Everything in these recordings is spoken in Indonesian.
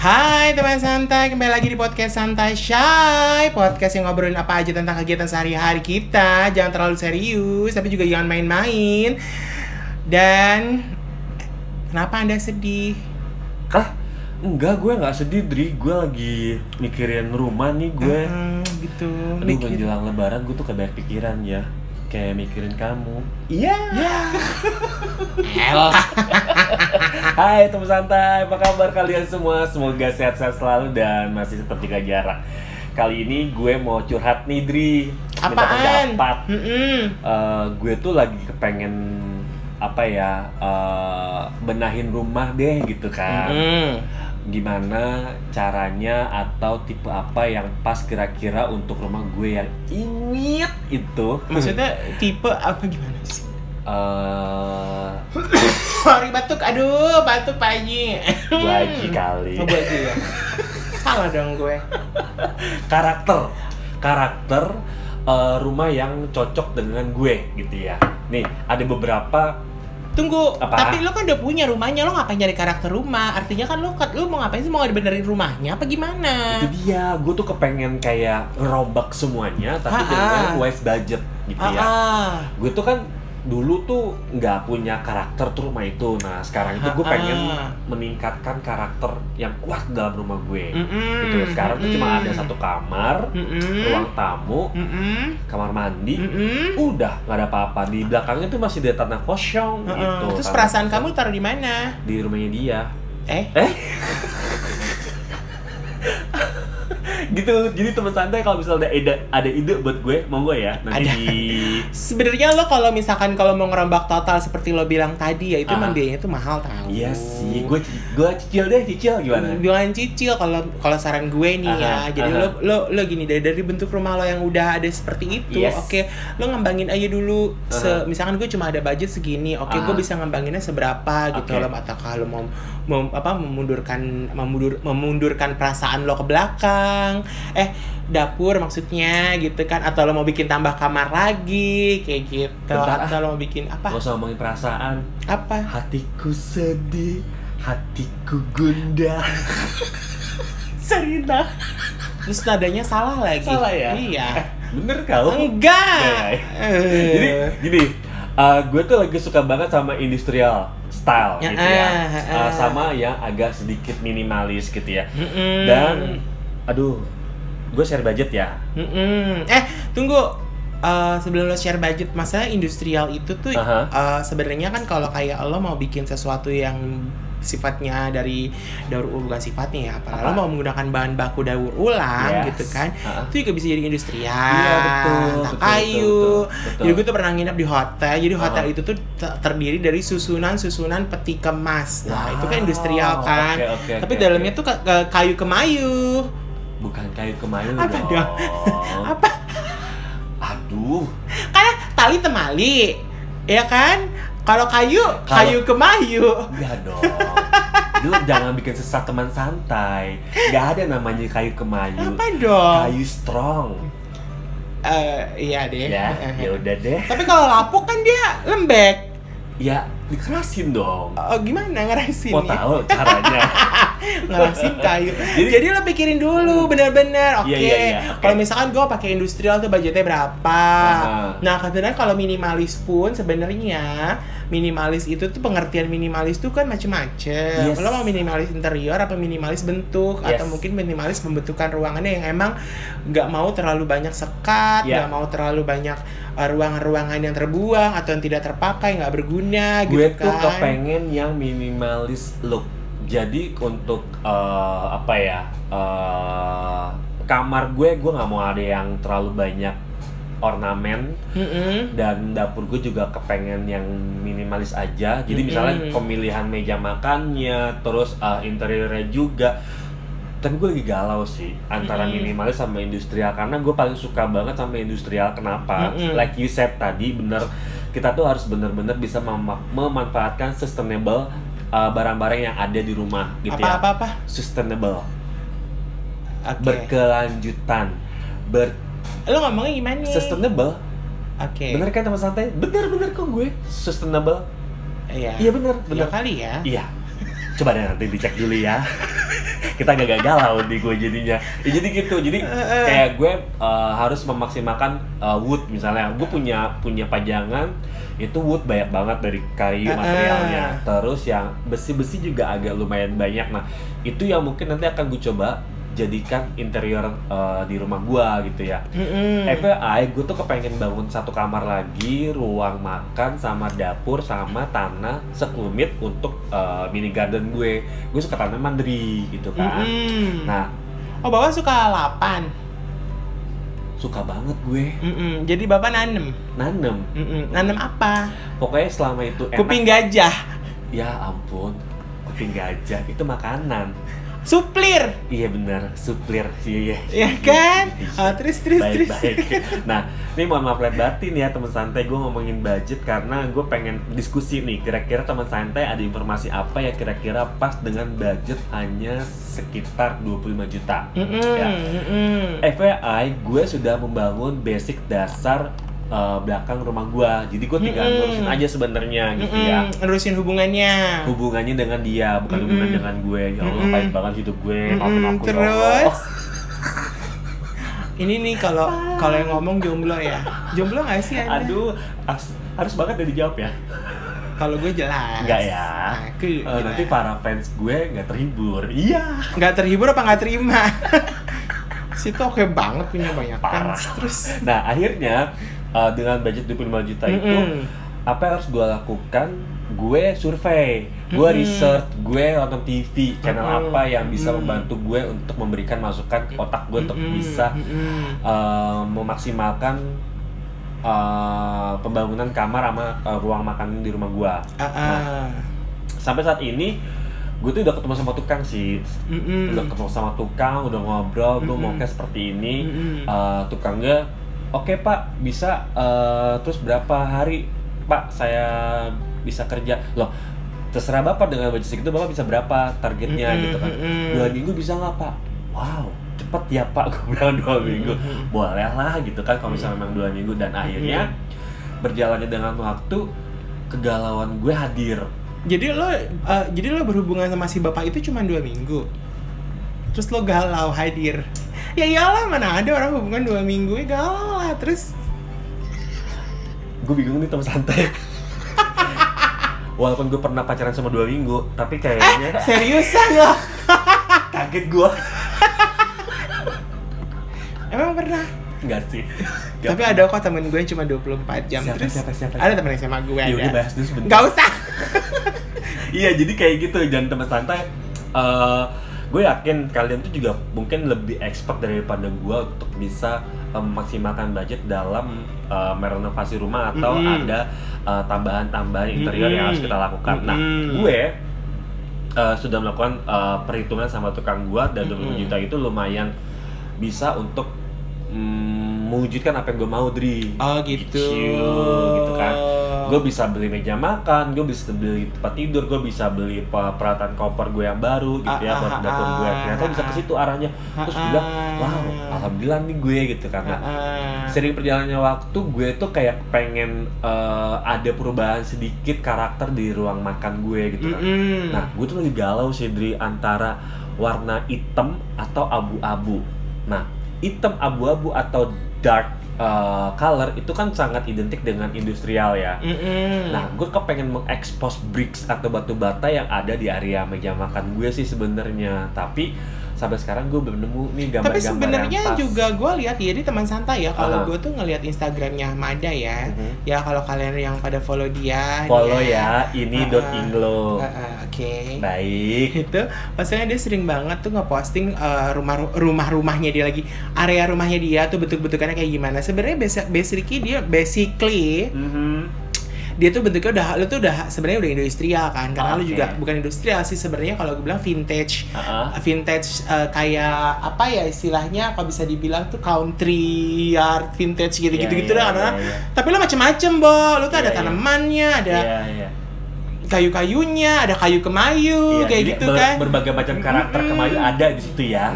Hai teman santai, kembali lagi di podcast Santai Shy Podcast yang ngobrolin apa aja tentang kegiatan sehari-hari kita Jangan terlalu serius, tapi juga jangan main-main Dan kenapa anda sedih? Kah? Enggak, gue nggak sedih, Dri. Gue lagi mikirin rumah nih gue. Hmm, gitu Aduh, Mikir. menjelang lebaran gue tuh kebanyak pikiran ya. Kayak mikirin kamu. Iya Hai teman santai, apa kabar kalian semua? Semoga sehat-sehat selalu dan masih tetap jaga jarak. Kali ini gue mau curhat nih, Dri. Minta Apaan? pendapat. Mm-mm. Eh, gue tuh lagi kepengen apa ya eh, benahin rumah deh gitu kan Mm-mm. gimana caranya atau tipe apa yang pas kira-kira untuk rumah gue yang ingit itu Maksudnya tipe apa gimana sih? eh Sorry batuk, aduh batuk Pak Iya. Haji bagi kali Oh, Bu Haji ya? Salah dong gue karakter karakter eh, rumah yang cocok dengan gue gitu ya nih ada beberapa Tunggu, Apa? tapi lo kan udah punya rumahnya, lo ngapain nyari karakter rumah? Artinya kan lo, lo mau ngapain sih? Mau dibenerin rumahnya apa gimana? itu dia gue tuh kepengen kayak ngerobak semuanya tapi Ha-ha. dengan wise budget gitu Ah, ya ah. gue tuh kan dulu tuh nggak punya karakter tuh rumah itu nah sekarang itu gue Ha-ha. pengen meningkatkan karakter yang kuat dalam rumah gue Mm-mm. gitu sekarang tuh cuma ada Mm-mm. satu kamar Mm-mm. ruang Uh, tamu Mm-mm. kamar mandi Mm-mm. udah nggak ada apa-apa di belakangnya tuh masih ada tanah kosong Heeh. gitu Uh-uh. Terus Tanah perasaan kosong. kamu taruh di mana? di rumahnya dia Eh, gitu jadi teman santai kalau misalnya ada ide ada ide buat gue mau gue ya nanti Ada. di sebenarnya lo kalau misalkan kalau mau ngerombak total seperti lo bilang tadi ya itu Ah. emang biayanya tuh mahal tau. iya sih gue gue cicil deh cicil gimana Jangan cicil kalau kalau saran gue nih Aha, ya. Jadi aha. lo lo lo gini dari dari bentuk rumah lo yang udah ada seperti itu, Yes. oke, lo ngembangin aja dulu. Se- Aha. misalkan gue cuma ada budget segini, oke, Aha. gue bisa ngembanginnya seberapa gitu Oke. lo atau kalau mau mem- apa memundurkan memundur, memundurkan perasaan lo ke belakang, eh dapur maksudnya gitu kan atau lo mau bikin tambah kamar lagi kayak gitu Bentar, ah. Oh. atau lo mau bikin apa Gak usah ngomongin perasaan apa Hatiku sedih Hatiku gundah cerita terus nadanya salah lagi Salah ya? iya Bener kau? Enggak. Oh. Iya, Eh. Jadi gini uh, Gue tuh lagi suka banget sama industrial style Ya, gitu ya ah, ah. Uh, Sama yang agak sedikit minimalis gitu ya Mm-mm. Dan Aduh Gue share budget ya Mm-mm. eh tunggu Eh, sebelum lo share budget masalah industrial itu tuh Aha. eh, sebenarnya kan kalau kayak lo mau bikin sesuatu yang sifatnya dari daur ulang bukan sifatnya ya apa lo Apa? mau menggunakan bahan baku daur ulang Yes. gitu kan Ah. itu juga bisa jadi industrial Iya betul tak betul, kayu betul, betul. Jadi gue tuh pernah nginep di hotel. Jadi hotel Aha. itu tuh te- terdiri dari susunan-susunan peti kemas. Nah, itu kan Wow, industrial kan. oke, oke, Tapi oke, dalamnya oke. tuh ka- ka- kayu kemayu. Bukan kayu kemayu Apa dong dong? Oh. Apa? Aduh Karena tali temali. Ya kan? Kalau kayu, kayu kemayu. Enggak Iya dong. Lu jangan bikin sesat teman santai. Enggak ada namanya kayu kemayu. Apa dong? Kayu strong. Eh, iya deh. Ya, Eh, eh. ya udah deh. Tapi kalau lapuk kan dia lembek. Ya dikerasin dong. Oh, gimana ngerasin Mau tahu caranya? ngerasin kayu. Jadi, Jadi- lo pikirin dulu bener-bener. Oke. Iya, iya, iya, oke. Kalau misalkan gue pakai industrial tuh budgetnya berapa? Aha. Nah, kemudian kalau minimalis pun sebenarnya minimalis itu tuh pengertian minimalis tuh kan macem-macem. Yes. Lo mau minimalis interior apa minimalis bentuk Yes. atau mungkin minimalis pembentukan ruangannya yang emang nggak mau terlalu banyak sekat, nggak Iya. mau terlalu banyak uh, ruangan-ruangan yang terbuang atau yang tidak terpakai, nggak berguna Gue gitu tuh kan. kepengen yang minimalis look. Jadi untuk eh, apa ya? eh, kamar gue gue nggak mau ada yang terlalu banyak ornamen Mm-mm. dan dapur gue juga kepengen yang minimalis aja jadi Mm-mm. misalnya pemilihan meja makannya terus uh, interiornya juga tapi gue lagi galau sih antara Mm-mm. minimalis sama industrial karena gue paling suka banget sama industrial kenapa Mm-mm. like you said tadi bener kita tuh harus bener-bener bisa mema- memanfaatkan sustainable uh, barang-barang yang ada di rumah gitu ya Apa-apa-apa? sustainable Oke. berkelanjutan ber Lo ngomongnya gimana? sustainable Oke. Bener kan teman santai? Bener bener kok gue sustainable. Iya. Iya bener Bener bener. kali ya. Iya. coba deh nanti dicek dulu ya kita agak gagal di gue jadinya Ya, jadi gitu jadi kayak gue eh, harus memaksimalkan eh, wood misalnya gue punya punya pajangan itu wood banyak banget dari Eh, eh. kayu materialnya terus yang besi-besi juga agak lumayan banyak nah itu yang mungkin nanti akan gue coba jadikan interior eh, di rumah gua gitu ya Mm-mm. FYI, gue tuh kepengen bangun satu kamar lagi, ruang makan sama dapur sama tanah sekelumit untuk eh, mini garden gue. Gue suka tanam mandiri gitu kan. Mm-mm. Nah, Oh bapak suka 8 suka banget gue Mm-mm. Jadi bapak nanem nanem. Mm-mm. Nanem apa? Pokoknya selama itu enak. Kuping gajah Ya ampun, kuping gajah itu makanan. Suplir Iya benar, suplir. Iya Ya iya. kan? Ah, terus terus terus baik-baik. Nah, ini mohon maaf lihat batin ya teman santai. Gue ngomongin budget karena gue pengen diskusi nih. Kira-kira teman santai ada informasi apa ya kira-kira pas dengan budget hanya sekitar 25 juta. Mm-mm. Ya. Mm-mm. FYI, gue sudah membangun basic dasar eh, belakang rumah gue. Jadi gue tinggal Mm-mm. ngurusin aja sebenarnya gitu Mm-mm. ya. Nerusin hubungannya Hubungannya dengan dia, bukan Mm-mm. hubungan dengan gue. Ya Allah, Mm-mm. pahit banget hidup gue. Mm-mm. Maafin aku ya Allah. Terus Ini nih kalau kalau yang ngomong jomblo ya Jomblo gak sih Anda? Oh, Aduh, as- harus banget ya dijawab ya. Kalau gue jelas Enggak ya. Aku Eh, nanti jelas. para fans gue nggak terhibur. Iya. nggak terhibur apa nggak terima situ oke banget punya banyak Parah. fans terus Nah, akhirnya eh, dengan budget 25 juta itu Mm-mm. apa yang harus gue lakukan? Gue survei, gue Mm-mm. research, gue nonton TV, channel Mm-mm. apa yang bisa Mm-mm. membantu gue untuk memberikan masukan ke otak gue untuk Mm-mm, bisa mm-mm. eh, memaksimalkan eh, pembangunan kamar sama eh, ruang makan di rumah gue. Ah, ah. Sampai saat ini gue tuh udah ketemu sama tukang sih, Mm-mm. udah ketemu sama tukang, udah ngobrol, gue Mm-mm. mau kayak seperti ini. Mm-mm. Eh, tukangnya oke pak bisa eh, terus berapa hari pak saya bisa kerja loh terserah bapak dengan budget segitu bapak bisa berapa targetnya Mm-mm, gitu kan mm-mm. dua minggu bisa nggak pak wow cepet ya pak gue bilang dua minggu Mm-mm. boleh lah gitu kan kalau misalnya memang dua minggu dan akhirnya berjalannya dengan waktu kegalauan gue hadir jadi lo eh, jadi lo berhubungan sama si bapak itu cuma dua minggu terus lo galau hadir ya iyalah mana ada orang hubungan dua minggu ya galau lah terus gue bingung nih teman santai walaupun gue pernah pacaran sama dua minggu tapi kayaknya Eh, seriusan lo kaget gue emang pernah Enggak sih. tapi ada kok temen gue yang cuma 24 jam Iya. Siapa, terus siapa, siapa, ada siapa? temen SMA gue Ya ada udah bahas dulu sebentar. nggak usah Iya, jadi kayak gitu jangan teman santai. Eh, gue yakin kalian tuh juga mungkin lebih expert daripada gue untuk bisa eh, memaksimalkan budget dalam eh, merenovasi rumah atau Mm-mm. ada eh, tambahan-tambahan interior yang harus kita lakukan. Nah, Mm-mm. gue eh, sudah melakukan eh, perhitungan sama tukang gue dan 20 Mm-mm. juta itu lumayan bisa untuk mm, mewujudkan apa yang gue mau, Dri. oh gitu gitu kan. gue bisa beli meja makan, gue bisa beli tempat tidur, gue bisa beli pe- peralatan koper gue yang baru gitu Ah, ya buat ah, dapur gue. ah, Ternyata bisa ke situ arahnya. Terus Ah, bilang, ah. wow, alhamdulillah nih gue gitu karena Ah, ah. sering perjalannya waktu gue tuh kayak pengen eh, ada perubahan sedikit karakter di ruang makan gue gitu kan. Mm-mm. Nah, gue tuh lagi galau sih dari antara warna hitam atau abu-abu. Nah, hitam abu-abu atau dark eh, color itu kan sangat identik dengan industrial ya. Mm-mm. Nah, gue kepengen mengekspos bricks atau batu bata yang ada di area meja makan gue sih sebenarnya. Tapi sampai sekarang gue belum nemu nih gambar-gambar tapi yang sebenarnya pas. juga gue lihat ya, jadi teman santai ya kalau Aha. gue tuh ngelihat Instagramnya Mada ya Mhm. ya kalau kalian yang pada follow dia follow dia- ya Nah. ini Ah, dot ah. inglo. Ah, ah, oke Baik. itu maksudnya dia sering banget tuh ngeposting eh, rumah rumah rumahnya dia lagi area rumahnya dia tuh bentuk bentukannya kayak gimana sebenarnya basic basically dia basically Mhm. dia tuh bentuknya udah lu tuh udah sebenarnya udah industrial kan karena lu Oke. juga bukan industrial sih sebenarnya kalau gue bilang vintage Ah, ah. vintage eh, kayak apa ya istilahnya kalau bisa dibilang tuh country art vintage gitu gitu gitu dah Iya, iya, karena- iya, tapi lu macem-macem bo lu tuh ada Iya, iya. tanamannya ada Iya, iya. kayu-kayunya, ada kayu kemayu Iya, kayak jadi gitu ber- kan. Berbagai macam karakter Mm-mm. kemayu ada di situ ya.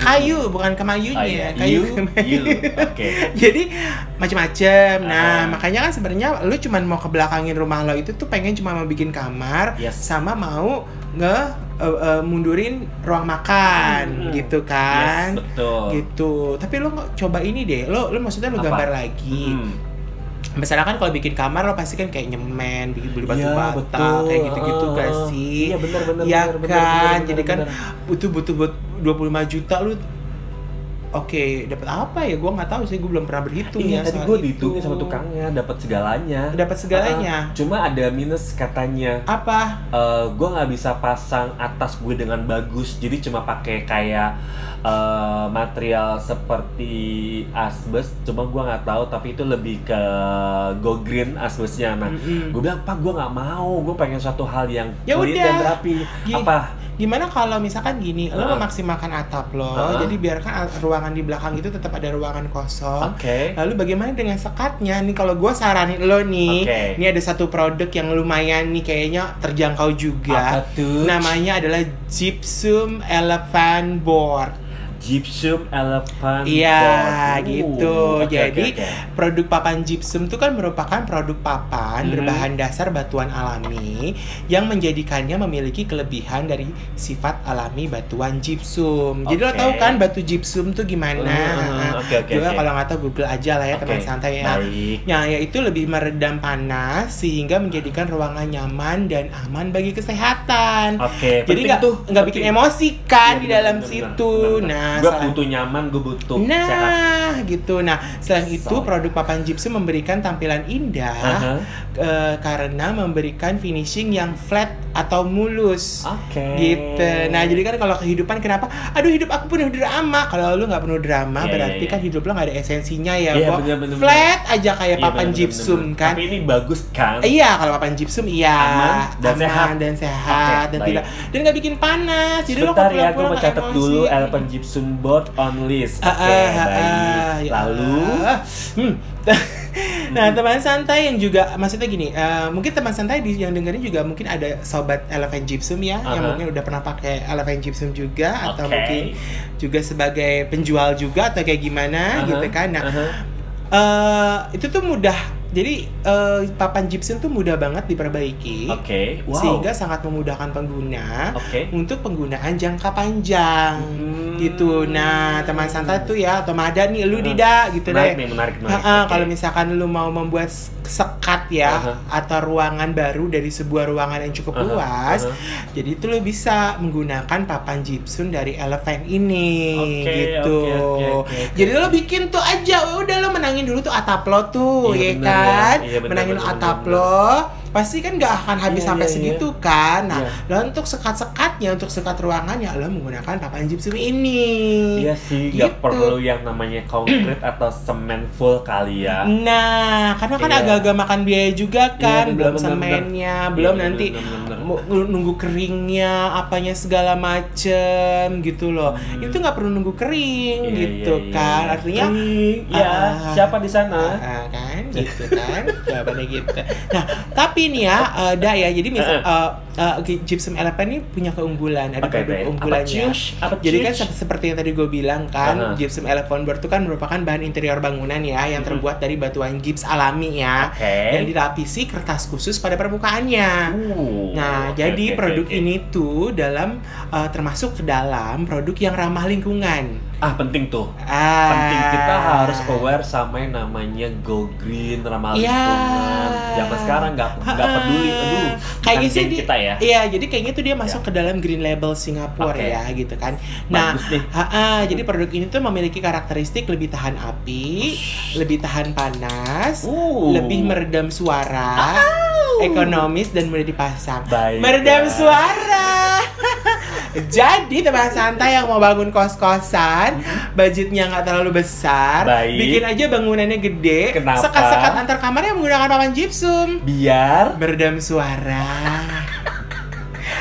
kayu bukan Oh, kemayunya, iya. kayu. You, you. Oke. Jadi macam-macam. Nah, Ah. makanya kan sebenarnya lu cuman mau kebelakangin rumah lo itu tuh pengen cuma mau bikin kamar Yes. sama mau nge eh, eh, mundurin ruang makan Mm-mm. gitu Hmm. Yes, kan. betul. gitu. Tapi lo nggak- coba ini deh. Lo lo maksudnya lo Apa? gambar lagi. Mm. Misalnya kan kalau bikin kamar lo pasti kan kayak nyemen, bikin beli batu Iya, bata, betul. kayak gitu-gitu Ah, gak ah. sih? Iya benar benar. Iya benar, benar, kan? benar, Jadi kan benar. butuh butuh buat 25 juta lu Oke, dapat apa ya? Gua nggak tahu sih, gua belum pernah berhitung Iya, ya. tadi soal gue itu. dihitungin sama tukangnya, dapat segalanya. Dapat segalanya. Ah, cuma ada minus katanya. Apa? Eh, gue nggak bisa pasang atas gue dengan bagus, jadi cuma pakai kayak eh, material seperti asbes. Cuma gue nggak tahu, tapi itu lebih ke go green asbesnya. Nah, Mm-mm. gue bilang pak gue nggak mau, gue pengen suatu hal yang Hmm. Ya clean udah. gitu. dan rapi. Gi- Apa? Gimana kalau misalkan gini, lo Ah. memaksimalkan atap lo, Ah. jadi biarkan a- ruangan di belakang itu tetap ada ruangan kosong. Oke. Lalu bagaimana dengan sekatnya nih? Kalau gua saranin lo nih, Oke. ini ada satu produk yang lumayan nih kayaknya terjangkau Apa juga. tuh? Namanya adalah gypsum elephant board. Gypsum elephant. Iya, board. Uh, gitu. oke, Jadi, oke, oke. Produk papan gypsum itu kan merupakan produk papan Mhm. berbahan dasar batuan alami yang menjadikannya memiliki kelebihan dari sifat alami batuan gypsum. Jadi lo Oke. tau kan batu gypsum tuh gimana? Uh, oke, oke, Juga oke. kalau nggak tahu Google aja lah ya Oke, teman santai ya. Baik. Ya, yaitu lebih meredam panas sehingga menjadikan ruangan nyaman dan aman bagi kesehatan. Oke. Jadi nggak nggak bikin emosi Iya, kan di dalam situ. Nah, gue selain- butuh nyaman, gue butuh Nah, sehat. gitu. Nah, selain itu Sorry. produk papan gypsum memberikan tampilan indah Aha, eh, karena memberikan finishing yang flat atau mulus. Oke. Gitu. Nah, jadi kan kalau kehidupan kenapa? Aduh, hidup aku penuh drama. Kalau lu nggak penuh drama, Iya, berarti iya, iya. kan hidup lo nggak ada esensinya ya, Iya, Bo. bener, bener, Flat aja kayak Iya, papan bener-bener. gypsum kan. Tapi ini bagus kan? Iya, kalau papan gypsum iya Aman dan sehat. dan sehat Oke, dan baik. tidak dan nggak bikin panas. Jadi lo kalau Sebentar ya, gue pulang-pulang mau nggak catat emosi. dulu elephant gypsum board on list. Oke, Ah, ah, ah, baik. ya Lalu, Hmm. Allah. Hmm. nah teman santai yang juga maksudnya gini eh, mungkin teman santai di, yang dengerin juga mungkin ada sobat elephant gypsum ya yang Aha. mungkin udah pernah pakai elephant gypsum juga atau Oke. mungkin juga sebagai penjual juga atau kayak gimana Aha, gitu kan nah aha. eh, itu tuh mudah jadi eh, papan gypsum tuh mudah banget diperbaiki Oke, wow. sehingga sangat memudahkan pengguna Oke. untuk penggunaan jangka panjang Hmm. gitu nah teman santai tuh ya atau mada nih lu Hmm. tidak gitu menarik deh nih, menarik, menarik. Ha-ha, Nah, Oke. kalau misalkan lu mau membuat s- sekat ya Aha. atau ruangan baru dari sebuah ruangan yang cukup Aha, luas aha. jadi itu lu bisa menggunakan papan gypsum dari elephant ini Oke, gitu oke, oke, oke, oke. jadi lo bikin tuh aja ya udah lo menangin dulu tuh atap lo tuh ya Iya, benar, kan ya. Iya, benar, menangin benar, atap benar, lo pasti kan nggak akan habis Iya, sampai iya, segitu kan nah Iya. lo untuk sekat-sekatnya untuk sekat ruangannya lo menggunakan papan gypsum ini Iya sih, nggak Gitu. perlu yang namanya konkret atau semen full kali ya. Nah, karena kan Iya. agak-agak makan biaya juga kan, bener, belum bener, semennya, bener. belum Iya, nanti bener, bener, bener. mu- nunggu keringnya, apanya segala macem gitu loh. Hmm. Itu nggak perlu nunggu kering Iya, gitu iya, iya, kan, iya. artinya Kering, ya, Ah. siapa di sana? Ah, kan gitu kan jawabannya gitu nah tapi nih ya eh, Da ya jadi misal eh, eh, gypsum elephant ini punya keunggulan ada Oke, produk baik. Apa keunggulannya cius? Apa jadi kan cius? se- seperti yang tadi gue bilang kan Aha. gypsum elephant board itu kan merupakan bahan interior bangunan ya yang Mhm. terbuat dari batuan gips alami ya Oke. yang dilapisi kertas khusus pada permukaannya Uh, Nah, oke, jadi oke, produk oke, oke. ini tuh dalam eh, termasuk ke dalam produk yang ramah lingkungan. ah penting tuh. Ah. Penting kita harus aware sama yang namanya go green, ramah Iya. lingkungan. Zaman sekarang nggak nggak peduli, Ah. aduh. Kayaknya bukan sih geng di- kita ya. Iya, jadi kayaknya tuh dia masuk ke dalam Green Label Singapura Oke. ya, gitu kan. Nah, Bagus nih. ha -ha, jadi produk ini tuh memiliki karakteristik lebih tahan api, lebih tahan panas, Uh. lebih meredam suara, ekonomis dan mudah dipasang. Baik, meredam ya. suara. Jadi teman santai yang mau bangun kos-kosan, budgetnya nggak terlalu besar, Mm-hmm. Baik. bikin aja bangunannya gede, Kenapa? sekat-sekat antar kamarnya menggunakan papan gypsum Biar meredam suara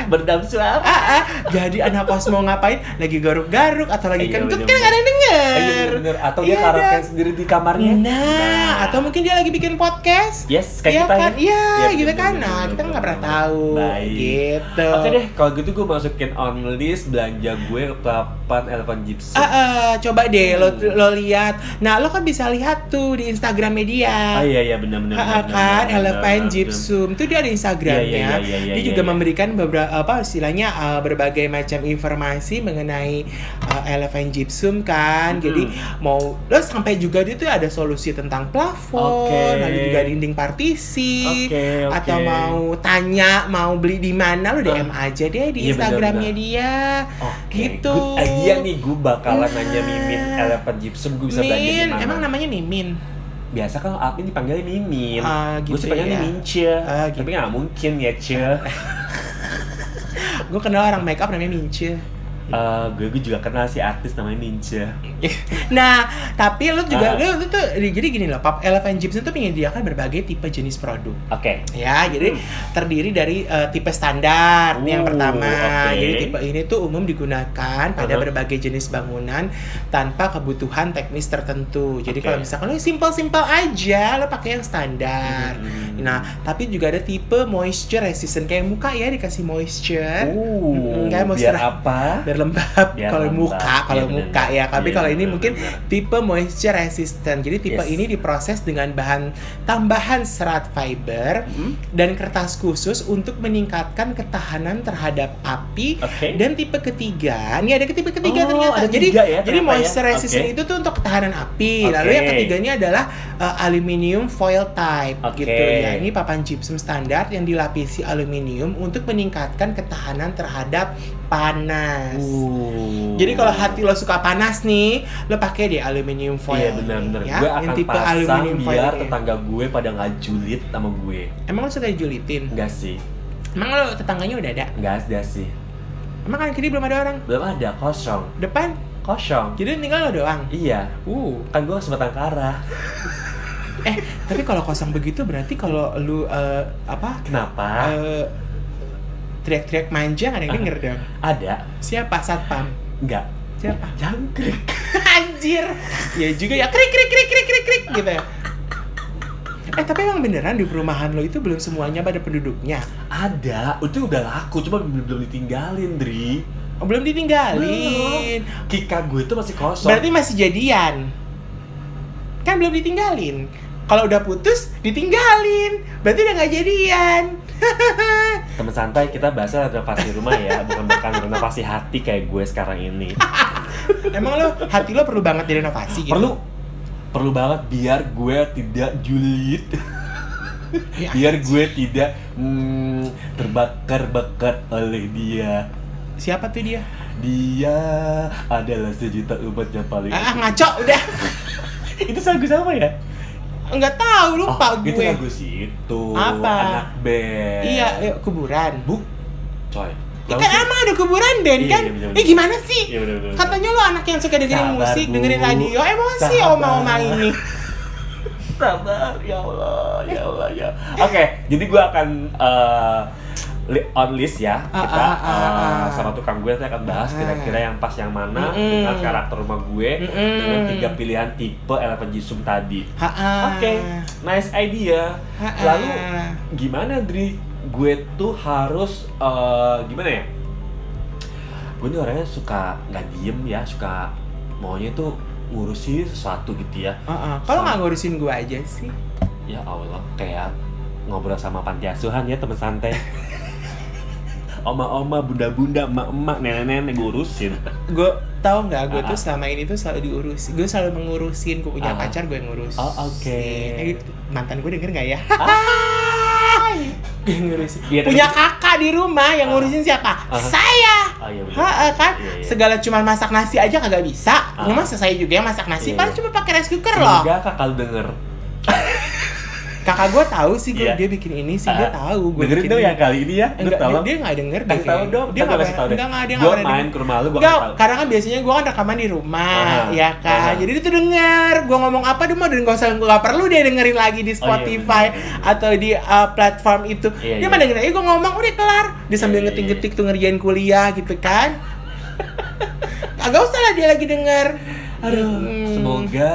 berdam suara. Ah, ah, jadi anak kos mau ngapain? Lagi garuk-garuk atau lagi Iya, kentut kan bener-bener. nggak ada yang denger. Iya bener-bener. Atau dia Iya, karaoke Dan. sendiri di kamarnya. Nah, atau mungkin dia lagi bikin podcast. Yes, kayak Iya kita kan? ya. Iya, betul, gitu kan. betul, Nah, betul, kita betul, nggak pernah betul. tahu. Baik. Gitu. Oke deh, kalau gitu gue masukin on list belanja gue papan Elvan Gibson. Ah, ah, coba deh lo Hmm. lo lihat. Nah, lo kan bisa lihat tuh di Instagramnya dia. Ah iya iya benar-benar. Ah, ah, kan Elephant Gypsum itu dia ada Instagramnya. Iya, iya, iya, dia iya, iya, juga iya. memberikan beberapa apa istilahnya uh, berbagai macam informasi mengenai uh, Elephant Gypsum kan. Mhm. Jadi mau terus sampai juga dia tuh ada solusi tentang plafon, Oke. ada juga dinding partisi. Oke, oke. Atau mau tanya, mau beli di mana lo DM aja deh di Iya, Oh, Instagramnya dia. Oke. Gitu. Good idea nih gue bakalan nanya Mimin Nah. Elephant Gypsum gue bisa belanja di Min, mana. emang namanya Nimin. Biasa kan Alvin dipanggilnya Mimin. Ah, gue gitu sih panggilnya ya. Mince. Ah, gitu. Ah. Tapi nggak mungkin ya Cil. Gue kenal orang makeup namanya Mince. Eh, gue gue juga kenal si artis namanya Mince. Nah, tapi lu juga Ah. lu, lu tuh jadi gini loh, Pub Elephant Gypsum tuh menyediakan berbagai tipe jenis produk. Oke. Ya, jadi Hmm. terdiri dari eh, tipe standar yang Uh, pertama. oke. Jadi tipe ini tuh umum digunakan pada Uh-huh. berbagai jenis bangunan tanpa kebutuhan teknis tertentu. Jadi Oke. kalau misalkan lo simple-simple aja, lo pakai yang standar. Hmm. Nah, tapi juga ada tipe moisture resistant kayak muka ya dikasih moisture Uh, Nggak, mau biar serah. apa? biar lembab Biar kalau lembab. muka kalau Iya, muka bener. ya tapi Iya, kalau ini bener, mungkin bener. tipe moisture resistant jadi tipe Yes. ini diproses dengan bahan tambahan serat fiber Hmm? dan kertas khusus untuk meningkatkan ketahanan terhadap api Oke. dan tipe ketiga ini ada ke- tipe ketiga Oh, ternyata ada jadi tiga ya jadi ternyata moisture ya. resistant Oke. itu tuh untuk ketahanan api lalu Oke. yang ketiganya adalah uh, aluminium foil type Oke. gitu ya ini papan gypsum standar yang dilapisi aluminium untuk meningkatkan ketahanan terhadap panas Uh. jadi kalau hati lo suka panas nih, lo pakai deh aluminium foil. Iya benar-benar. Ya, Gue yang akan tipe pasang aluminium foil biar ini. tetangga gue pada nggak julid sama gue. Emang lo suka dijulitin? Enggak sih, Emang lo tetangganya udah ada? enggak ada sih. Emang kanan kiri belum ada orang? Belum ada kosong, Depan? kosong. Jadi tinggal lo doang. Iya, Uh, kan gue sebatang kara. eh tapi kalau kosong begitu berarti kalau lu eh, apa Kenapa? eh, teriak-teriak manja Ah. nggak ada yang denger dong. Ada? Siapa satpam? Enggak. Siapa? Jangkrik. Anjir. Ya juga ya krik krik krik krik krik krik gitu. ya. Eh tapi emang beneran di perumahan lo itu belum semuanya pada penduduknya. Ada. Itu udah laku, cuma belum belum ditinggalin, Dri. Oh, belum ditinggalin. Kika gue tuh masih kosong. Berarti masih jadian. Kan belum ditinggalin. Kalau udah putus, ditinggalin. Berarti udah nggak jadian. Teman santai, kita bahasnya renovasi rumah ya, bukan bukan renovasi hati kayak gue sekarang ini. Emang lo hati lo perlu banget direnovasi Ah, gitu. Perlu perlu banget biar gue tidak julid. Ya, biar gue tidak hmm, terbakar-bakar oleh dia. Siapa tuh dia? Dia adalah sejuta umat yang paling. Ah, ngaco udah. Itu lagu sama ya? Nggak tahu lupa Oh, gue. Itu lagu situ. Apa? Anak band. Iya, eh, kuburan. Buk, coy. Ya kan emang ada kuburan band Iya, kan? iya, bener-bener. eh gimana sih? Iya, bener-bener. Katanya lo anak yang suka dengerin Sabar, musik, Bu. dengerin radio, emosi Sabar. oma-oma ini. Sabar, ya Allah, ya Allah, ya. Oke, jadi gue akan eh, li- on list ya. Ah, Kita ah, ah, eh, ah. sama tukang gue nanti akan bahas Ah. kira-kira yang pas yang mana Mm-mm. dengan karakter rumah gue Mm-mm. dengan tiga pilihan tipe elemen jisum tadi. Ha-ah. Oke, nice idea. Ha-ah. Lalu gimana, Dri? Gue tuh harus eh, gimana ya? Gue nih orangnya suka nggak diem ya, suka maunya tuh ngurusin sesuatu gitu ya. Heeh. Kalau nggak ngurusin gue aja sih. Ya Allah, kayak ngobrol sama panti asuhan ya teman santai. Oma-oma, bunda-bunda, emak-emak, nenek-nenek gue urusin. Gue tau nggak gue Ah, tuh selama ini tuh selalu diurusin. Gue selalu mengurusin. Gue punya Ah. pacar gue ngurusin. Oh, oke. Eh, mantan gue denger nggak ya? Hai. Gue ngurusin. Iya, tapi- punya kakak di rumah yang Ah. ngurusin siapa? Ah. Saya. Oh iya bener. Ha, kan Iya, iya. segala cuman masak nasi aja kagak bisa. Ah. Rumah saya juga yang masak nasi, Iya, paling iya. cuma pakai rice cooker loh. Semoga kakak lu denger. kakak gue tahu sih gue Iya. dia bikin ini sih dia Ah, tahu gue dengerin bikin dong ini. yang kali ini ya Eh, enggak, lu tolong dia, dia nggak denger deh kasih tahu kayaknya. dong dia nggak nggak kasih tahu deh enggak enggak dia Gua nggak pernah main denger. ke rumah lu gue Enggak, karena kan biasanya gue kan rekaman di rumah, Aha. ya kan. Aha. Jadi dia tuh denger, gue ngomong apa dia mau dan gak usah nggak perlu dia dengerin lagi di iya, Spotify bener, bener. atau di uh, platform itu. Iya, dia iya. mah dengerin aja gue ngomong udah kelar. Dia sambil Iya, iya, ngetik-ngetik tuh ngerjain kuliah gitu kan. Agak usah lah dia lagi denger. aduh Hmm. semoga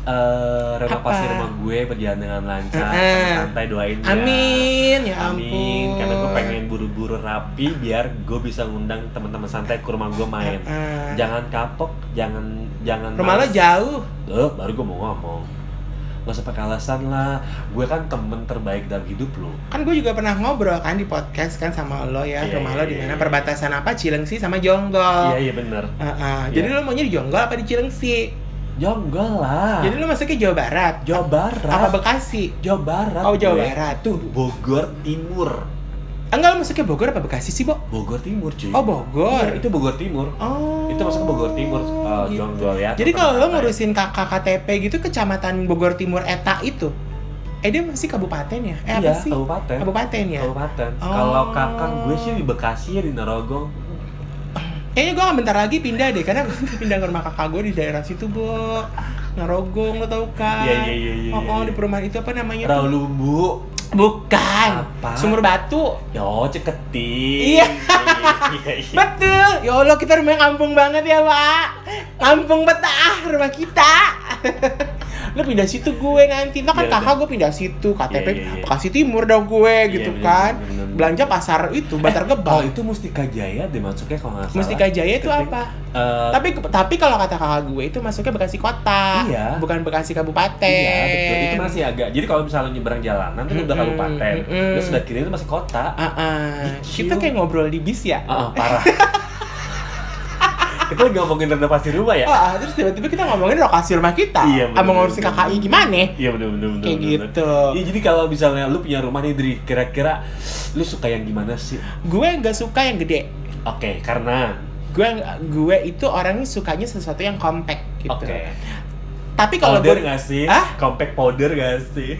eh, renovasi Apa? rumah gue berjalan dengan lancar Heeh. Sama santai doain ya Amin, ya ampun. Amin, karena gue pengen buru-buru rapi biar gue bisa ngundang teman-teman santai ke rumah gue main. Heeh. Jangan kapok, jangan jangan. Eh, Rumah lo males. jauh. Eh, baru gue mau ngomong. Gak usah pakai alasan lah. Gue kan temen terbaik dalam hidup lo. kan gue juga pernah ngobrol kan di podcast kan sama lo ya Iya, rumah iya, lo di iya, mana iya. perbatasan apa Cilengsi sama Jonggol Iya iya bener. Heeh. jadi Iya. lo maunya di Jonggol apa di Cilengsi Jonggol lah. jadi lo masuknya Jawa Barat Jawa Barat. apa Bekasi Jawa Barat. oh Jawa gue. Barat Tuh Bogor Timur. enggak lo masuknya Bogor apa Bekasi sih Bo Bogor Timur cuy. oh Bogor Iya, itu Bogor Timur. oh Itu masuk ke Bogor Timur. eh, gitu. Jonggol ya. jadi kalau lo teman-teman santai. ngurusin kakak KTP gitu kecamatan Bogor Timur Eta itu eh dia masih kabupaten ya eh apa iya, sih kabupaten. kabupaten ya Kabupaten. Oh. Kalau kakak gue sih di Bekasi ya di Narogong. Kayaknya gue bentar lagi pindah deh, karena gue pindah ke rumah kakak gue di daerah situ, Bo. Ngarogong, lo tau kan? Iya, iya, iya, iya, Oh, oh, iya. di perumahan itu apa namanya? tuh? Raulumbu. Bukan. Apa? Sumur Batu. Yo, ceketi. Iya. Iya, iya. Betul. Ya Allah, kita rumahnya kampung banget ya, Pak. Kampung betah rumah kita. lo pindah situ gue nanti. Lo kan Iya, kakak gue pindah situ, KTP Iya, iya, iya. Bekasi Timur dong gue Iya, gitu bener, kan. bener, bener, bener. Belanja pasar itu, Bantar Oh, Gebang. itu Mustika Jaya deh masuknya kalau nggak salah. Mustika Jaya itu Ketik- apa? Eh, tapi tapi kalau kata kakak gue itu masuknya Bekasi Kota, Iya. bukan Bekasi Kabupaten. Iya, betul. Itu masih agak. Jadi kalau misalnya nyebrang jalanan itu udah Mm-mm, kabupaten. mm-mm. Terus udah kiri itu masih kota. Ah, ah. Ih, kita cium. kayak ngobrol di bis ya. Ah, ah, parah. Kita lagi ngomongin renovasi rumah ya? Ah, ah, terus tiba-tiba kita ngomongin lokasi rumah kita, Iya, bener, sama ngurusin bener, KKI bener. gimana? Iya bener bener bener. Kayak bener. gitu. Iya jadi kalau misalnya lu punya rumah nih Dri, kira-kira lu suka yang gimana sih? Gue nggak suka yang gede. Oke, karena Gue gue itu orangnya sukanya sesuatu yang compact gitu. oke. Tapi kalau Powder gue nggak sih? Hah? Compact powder nggak sih?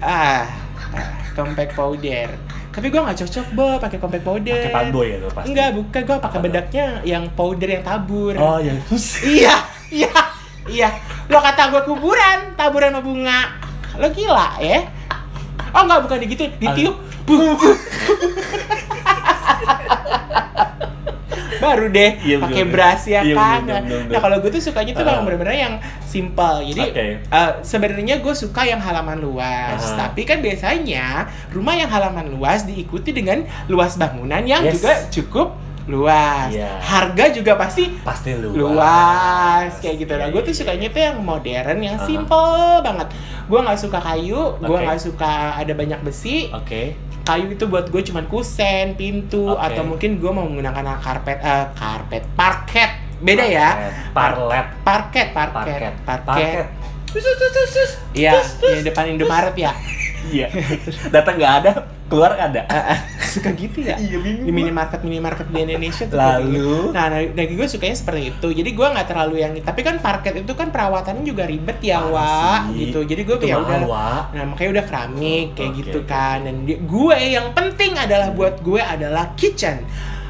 ah, ah, compact powder. Tapi gue nggak cocok bo pakai compact powder. Pakai panboy ya lo pasti. Enggak, bukan gue pakai Apa tuh? bedaknya yang powder yang tabur. Oh ya terus. Iya, iya, iya. Lo kata gue kuburan, taburan sama bunga. Lo gila ya? Oh enggak, bukan gitu. Ditiup, bung. Baru deh Iya, bener, pakai bener. beras ya Iya, kan. bener, bener, bener. Nah kalau gue tuh sukanya tuh Ah. yang bener-bener yang simple. Jadi Oke. eh, sebenarnya gue suka yang halaman luas. Ah. Tapi kan biasanya rumah yang halaman luas diikuti dengan luas bangunan yang Yes. juga cukup luas. Iya. Harga juga pasti Pasti luas. luas kayak gitu nah gue tuh Iya, sukanya tuh yang modern yang Aha. simple banget gue nggak suka kayu gue Oke. nggak suka ada banyak besi Oke. kayu itu buat gue cuman kusen pintu Oke. atau mungkin gue mau menggunakan karpet eh, karpet parket beda ya Parlet. parket parket Parket. parket Sus, sus, sus, sus. Iya, Sus, sus. yang depan Indomaret ya. Iya. Datang nggak ada, keluar ada. Suka gitu ya? Iya Di minimarket minimarket di Indonesia tuh kayak gitu. Lalu. Nah, nah, nah gue sukanya seperti itu. Jadi gue nggak terlalu yang tapi kan parket itu kan perawatannya juga ribet ya, Parah Wak, sih. gitu. Jadi gue Itu ya mahal, udah Wak. Nah, makanya udah keramik kayak Oke, gitu oke. kan. Dan di- gue yang penting adalah buat gue adalah kitchen.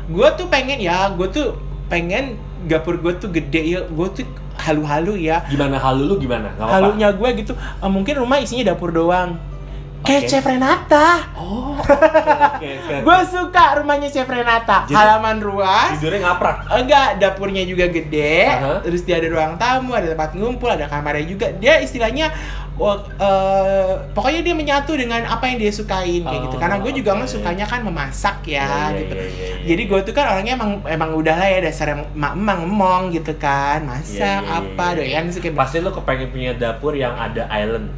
Gue tuh pengen ya, gue tuh pengen dapur gue tuh gede ya, gue tuh halu-halu ya. Gimana halu lu gimana? Gak apa-apa. Halunya gue gitu, eh, mungkin rumah isinya dapur doang. Kayak Oke. Chef Renata. Oh. Oke, oke, oke. Gue suka rumahnya Chef Renata. Jadi- Halaman luas, Tidurnya ngaprak. Iya, enggak dapurnya juga gede Aha. terus dia ada ruang tamu ada tempat ngumpul ada kamarnya juga dia istilahnya wah, eh, pokoknya dia menyatu dengan apa yang dia sukain kayak gitu Oh, karena gue juga oke. nggak sukanya kan memasak ya Iya, iya, gitu iya, iya, iya. jadi gue tuh kan orangnya emang emang udah lah ya dasar emang emang gitu kan masak Iya, iya, iya, apa iya. doyan sih kayak Pasti lu kepengen punya dapur yang ada island.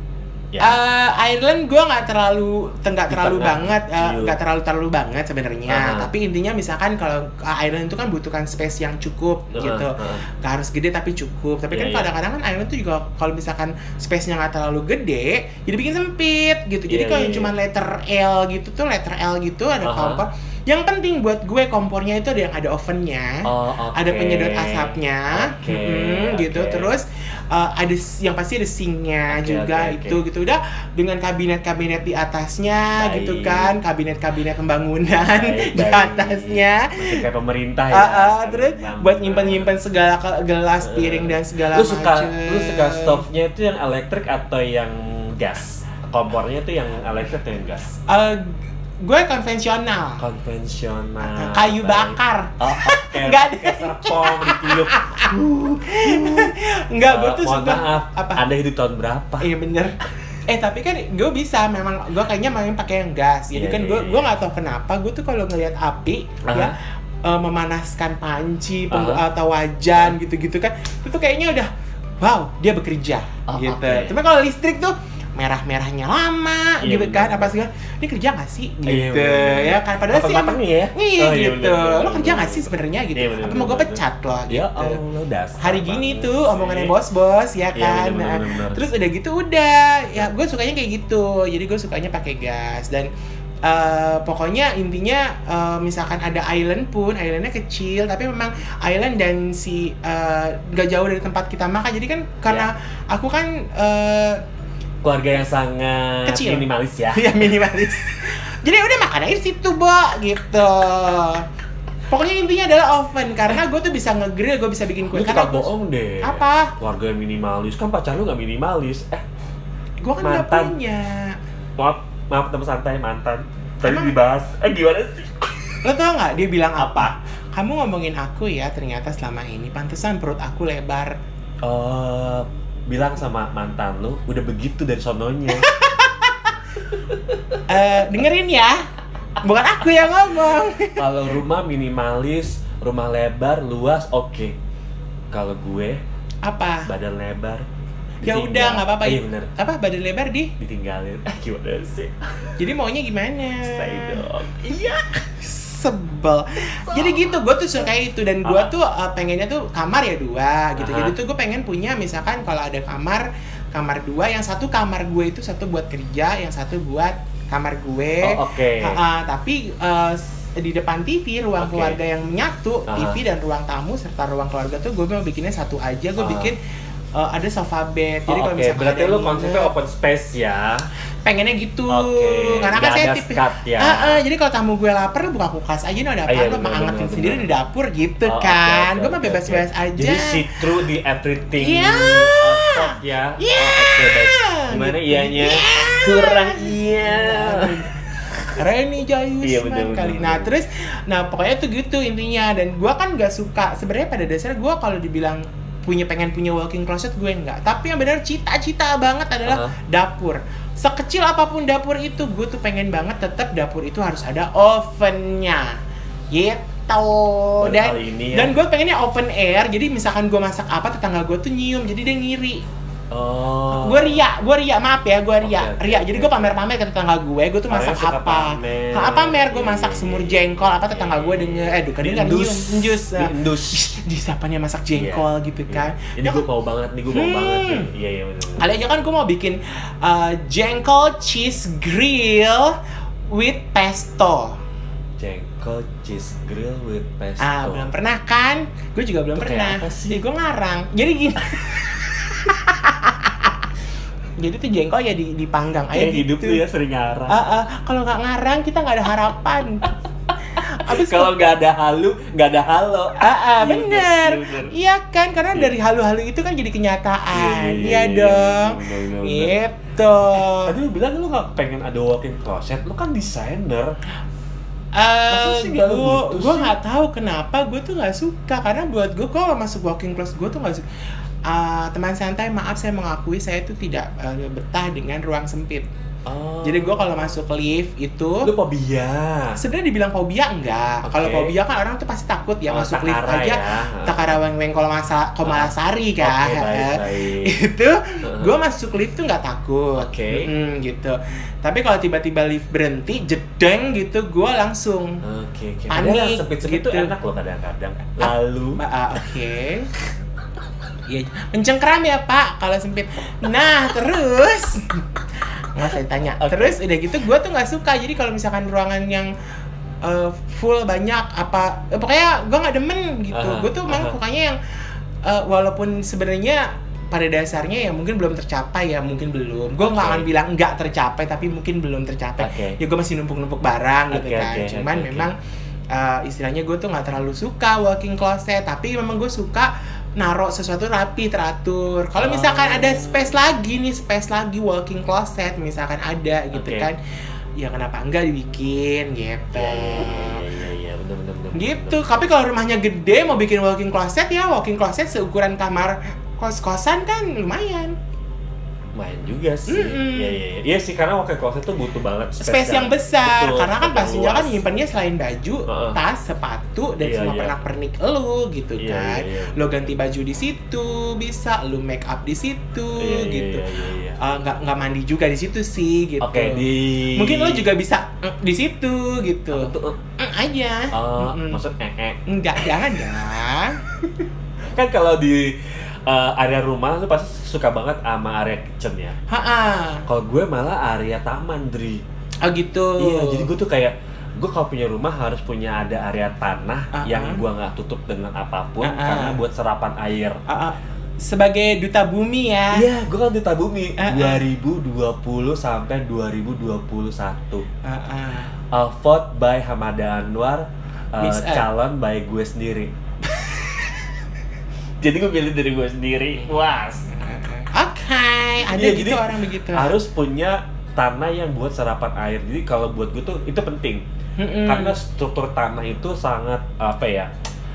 Eh, Ireland gue nggak terlalu nggak Ya. Di terlalu tengah, banget eh, kecil. nggak terlalu terlalu banget sebenarnya Aha. tapi intinya misalkan kalau eh, Ireland itu kan butuhkan space yang cukup Heeh, gitu heeh. nggak harus gede tapi cukup tapi kan Iya, iya. kadang-kadang kan Ireland tuh juga kalau misalkan space-nya nggak terlalu gede jadi bikin sempit gitu jadi Iya, kalau iya, yang iya. cuma letter L gitu tuh letter L gitu ada Aha. kompor Yang penting buat gue kompornya itu ada yang ada ovennya, Oh, oke. ada penyedot asapnya, Oke, mm, gitu. oke. Terus uh, ada s- yang pasti ada sinknya Oke, juga oke, oke. itu gitu. Udah dengan kabinet-kabinet di atasnya Baik. gitu kan, kabinet-kabinet pembangunan Baik, di baik. atasnya. Masih kayak pemerintah ya. Ah, ah, standar terus banget. buat nyimpen-nyimpen segala ke- gelas, piring dan segala Eh, lu suka macem. lu suka stove-nya itu yang elektrik atau yang gas kompornya itu yang elektrik atau yang gas Eh, gue konvensional. konvensional kayu Ah, baik. bakar. oh, oke Nggak ada. Pakai serpong ditiup Enggak, gue Eh, tuh mohon suka maaf apa? anda hidup tahun berapa Iya bener. Eh tapi kan gue bisa memang gue kayaknya main pakai yang gas. Jadi Iya, kan iya, gue iya. gue nggak tahu kenapa gue tuh kalau ngelihat api Aha. ya eh, memanaskan panci pem- Aha. atau wajan gitu-gitu kan itu tuh kayaknya udah wow dia bekerja Oh, gitu. oke. Cuma kalau listrik tuh merah-merahnya lama Iya, gitu kan bener. apa segala ini kerja nggak sih gitu Iya, bener. ya kan padahal Apa sih emang- matangnya ya? iya Oh, iya, gitu bener, bener, lo kerja bener. nggak sih sebenarnya gitu Iya, bener, apa mau bener, gue bener. pecat lo gitu ya allah dasar hari gini banget tuh sih. omongannya bos-bos ya Iya, kan Nah, bener, bener, bener. terus udah gitu udah ya gue sukanya kayak gitu jadi gue sukanya pakai gas dan eh, pokoknya intinya eh, misalkan ada island pun islandnya kecil tapi memang island dan si eh, nggak jauh dari tempat kita makan jadi kan karena Iya. aku kan eh, keluarga yang sangat Kecil. minimalis ya ya minimalis jadi udah makan aja di situ bo gitu pokoknya intinya adalah oven karena gue tuh bisa nge-grill gue bisa bikin lu kue suka karena gua- bohong deh Apa? keluarga yang minimalis kan pacar lu nggak minimalis eh gue kan nggak Mantan. punya maaf maaf teman santai mantan tadi Emang- dibahas eh gimana sih Lo tau nggak dia bilang apa? Kamu ngomongin aku ya, ternyata selama ini pantesan perut aku lebar. Eh, bilang sama mantan lu udah begitu dari sononya Eh, dengerin ya, bukan aku yang ngomong. kalau rumah minimalis rumah lebar luas oke kalau gue Apa? badan lebar Ya ditinggal. udah nggak apa-apa. Eh, iya bener Apa badan lebar di? ditinggalin Eh, gimana sih Jadi maunya gimana? stay dong iya sebel jadi gitu gue tuh suka itu dan gue Ah. tuh uh, pengennya tuh kamar ya dua gitu Aha. jadi tuh gue pengen punya misalkan kalau ada kamar kamar dua yang satu kamar gue itu satu buat kerja yang satu buat kamar gue Oh, oke. Ah, ah, tapi uh, s- di depan TV ruang Oke. keluarga yang menyatu Aha. TV dan ruang tamu serta ruang keluarga tuh gue mau bikinnya satu aja gue Ah. bikin uh, ada sofa bed jadi Oh, kalau oke misalkan berarti ada lu yang konsepnya nginep, open space ya pengennya gitu Oke, karena kan nggak saya ada tipe skat ya. Ah, ah, jadi kalau tamu gue lapar lu buka kulkas aja nih ada apa Ah, iya, lu bener, mengangkatin bener, sendiri di bener. dapur gitu Oh, oke, kan oke, gue mah oke, bebas-bebas oke. aja Jadi see through di everything. Iya. Oh, stop ya. Iya. Oh, Oke baik. Gimana Gitu. ianya? Iya. Kurang iya. Reni Jayus Iya, bener, bener, kali. bener. Nah terus, nah pokoknya tuh gitu intinya. Dan gue kan gak suka. Sebenarnya pada dasarnya gue kalau dibilang punya pengen punya walking closet gue nggak. Tapi yang benar cita-cita banget adalah Aha. dapur. Sekecil apapun dapur itu, gue tuh pengen banget tetap dapur itu harus ada ovennya. Gitu. Baru dan kali ini ya. dan gue pengennya open air. Jadi misalkan gue masak apa, tetangga gue tuh nyium. Jadi dia ngiri. Oh. Gue ria, gue ria, maaf ya, gue ria, Oke, oke, ria. Jadi oke. gue pamer-pamer ke tetangga gue, gue tuh Kalian masak suka apa? pamer. Iya, Nah, pamer, gue masak semur jengkol, apa tetangga gue denger, eh duka denger, Diendus. nyium, njus. Nah, Diendus. "Ih, Di siapa nih yang masak jengkol gitu Iya. kan? Ini Ya gue kan, mau banget nih, gue mau Hmm. banget nih. Iya, iya bener. Kali aja kan gue mau bikin uh, jengkol cheese grill with pesto. Jengkol cheese grill with pesto. Ah, belum pernah kan? Gue juga belum Itu kayak pernah. apa sih? Ya, gue ngarang. Jadi gini. Jadi tuh jengkol ya di- dipanggang aja Kayak hidup gitu. tuh ya sering Ah, arah. ah, kalau nggak ngarang kita nggak ada harapan. Abis Kalau nggak ada halu, nggak ada halo. Ah, ah, Iya, bener. bener. Iya kan, karena Iya. dari halu-halu itu kan jadi kenyataan. Iya Iya, iya, iya, dong. bener, bener, bener. Gitu. Tadi lu bilang lu nggak pengen ada walk-in closet, lu kan desainer. Eh, sih nggak gue gitu gue sih? nggak tahu kenapa gue tuh nggak suka karena buat gue kalau masuk walking closet gue tuh nggak suka. Ah, teman santai, maaf saya mengakui saya tuh tidak eh, betah dengan ruang sempit. Oh. Jadi gue kalau masuk lift itu lu fobia. sebenarnya dibilang fobia enggak. Oke. Kalau fobia kan orang tuh pasti takut ya Oh, masuk tak lift arah aja. ya. Tak arah weng-weng kalau masa komalasari Oke, kan. baik, baik. itu gue masuk lift tuh nggak takut Oke. Mm, gitu tapi kalau tiba-tiba lift berhenti jedeng gitu gue langsung Oke, oke. Panik, Padahal sempit-sempit tuh gitu. Ah, enak loh kadang-kadang. Lalu Mbak A, oke. Iya, mencengkeram ya Pak kalau sempit. Nah terus, nggak saya tanya. Terus udah gitu, gue tuh nggak suka. Jadi kalau misalkan ruangan yang eh, full banyak apa eh, pokoknya gue nggak demen gitu Aha, gue tuh emang aha. sukanya yang eh, walaupun sebenarnya pada dasarnya ya mungkin belum tercapai ya mungkin belum gue nggak Oke. akan bilang nggak tercapai tapi mungkin belum tercapai Oke. ya gue masih numpuk-numpuk barang gitu Oke, kan oke, cuman oke, oke. memang eh, istilahnya gue tuh nggak terlalu suka walking closet tapi memang gue suka naruh sesuatu rapi teratur kalau misalkan Oh. ada space lagi nih space lagi walking closet misalkan ada gitu Oke. kan ya kenapa enggak dibikin gitu Iya, iya, iya, iya, iya, bener, bener, bener, gitu bener. tapi kalau rumahnya gede mau bikin walking closet ya walking closet seukuran kamar kos-kosan kan lumayan main juga sih. Mm-mm. Iya, iya, iya. Iya sih karena wakil closet tuh butuh banget space yang besar Betul, karena kan space yang pastinya kan luas. nyimpannya selain baju, Heeh. tas, sepatu dan Iya, semua iya. pernak-pernik lu gitu Iya, kan. iya, iya. Lo ganti baju di situ bisa, lu make up di situ Iya, iya, gitu. Iya, iya, iya. Eh, nggak nggak mandi juga di situ sih gitu. Oke, di Mungkin lo juga bisa eh, di situ gitu. Apa tuh? Eh, aja. Eh, Mm-mm. maksud eh, eh. Enggak, jangan dong. Kan kalau di eh, area rumah lu pasti suka banget sama area kitchen ya. Ha-ha. Kalau gue malah area taman, Dri. Oh gitu. Iya, jadi gue tuh kayak gue kalau punya rumah harus punya ada area tanah Ah, ah. yang gue nggak tutup dengan apapun Ah, ah. karena buat serapan air. Ah, ah. sebagai duta bumi ya. Iya, gue kan duta bumi Ah, ah. 2020 sampai 2021. Ah, ah. Uh, vote by Hamada Anwar, uh, Miss Earth. calon by gue sendiri. jadi gue pilih dari gue sendiri. Was. Oke, ada Iya, gitu jadi orang begitu. Harus punya tanah yang buat serapan air. Jadi kalau buat gue tuh itu penting. Mm-mm. karena struktur tanah itu sangat apa ya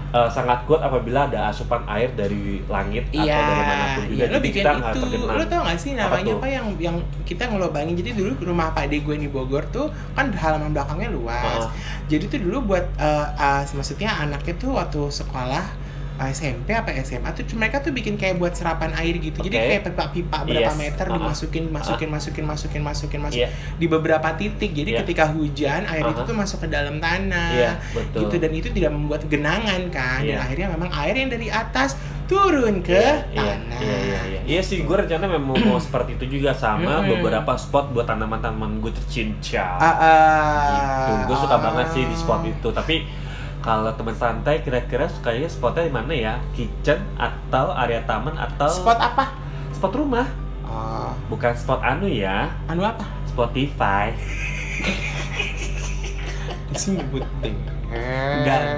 eh, sangat kuat apabila ada asupan air dari langit Iya, atau dari manapun juga iya, lo Jadi bikin kita nggak itu, terkena. lo tau gak sih Apa namanya tuh? apa, yang yang kita ngelobangin Jadi dulu rumah Pak Ade gue di Bogor tuh kan halaman belakangnya luas. Heeh. Jadi tuh dulu buat eh, eh, maksudnya anaknya tuh waktu sekolah eh, SMP apa SMA tuh mereka tuh bikin kayak buat serapan air gitu. Jadi Oke. kayak pipa-pipa berapa Yes. meter Heeh. dimasukin, masukin, masukin, masukin, masukin, masukin Iya, di beberapa titik. Jadi Iya. ketika hujan air itu Heeh. tuh masuk ke dalam tanah iya, betul. gitu dan itu tidak membuat genangan kan dan Iya. akhirnya memang air yang dari atas turun ke Iya, iya, tanah Iya, iya, iya. Iya sih, gue rencana memang mau seperti itu juga sama Mm-mm. beberapa spot buat tanaman-tanaman gue tercinta. Ah, ah, gitu. Gue ah. suka banget sih di spot itu. Tapi kalau teman santai kira-kira sukanya spotnya di mana ya? Kitchen atau area taman atau spot apa spot rumah? oh, Bukan spot anu ya. anu apa Spotify Eh. sih nyebut deh enggak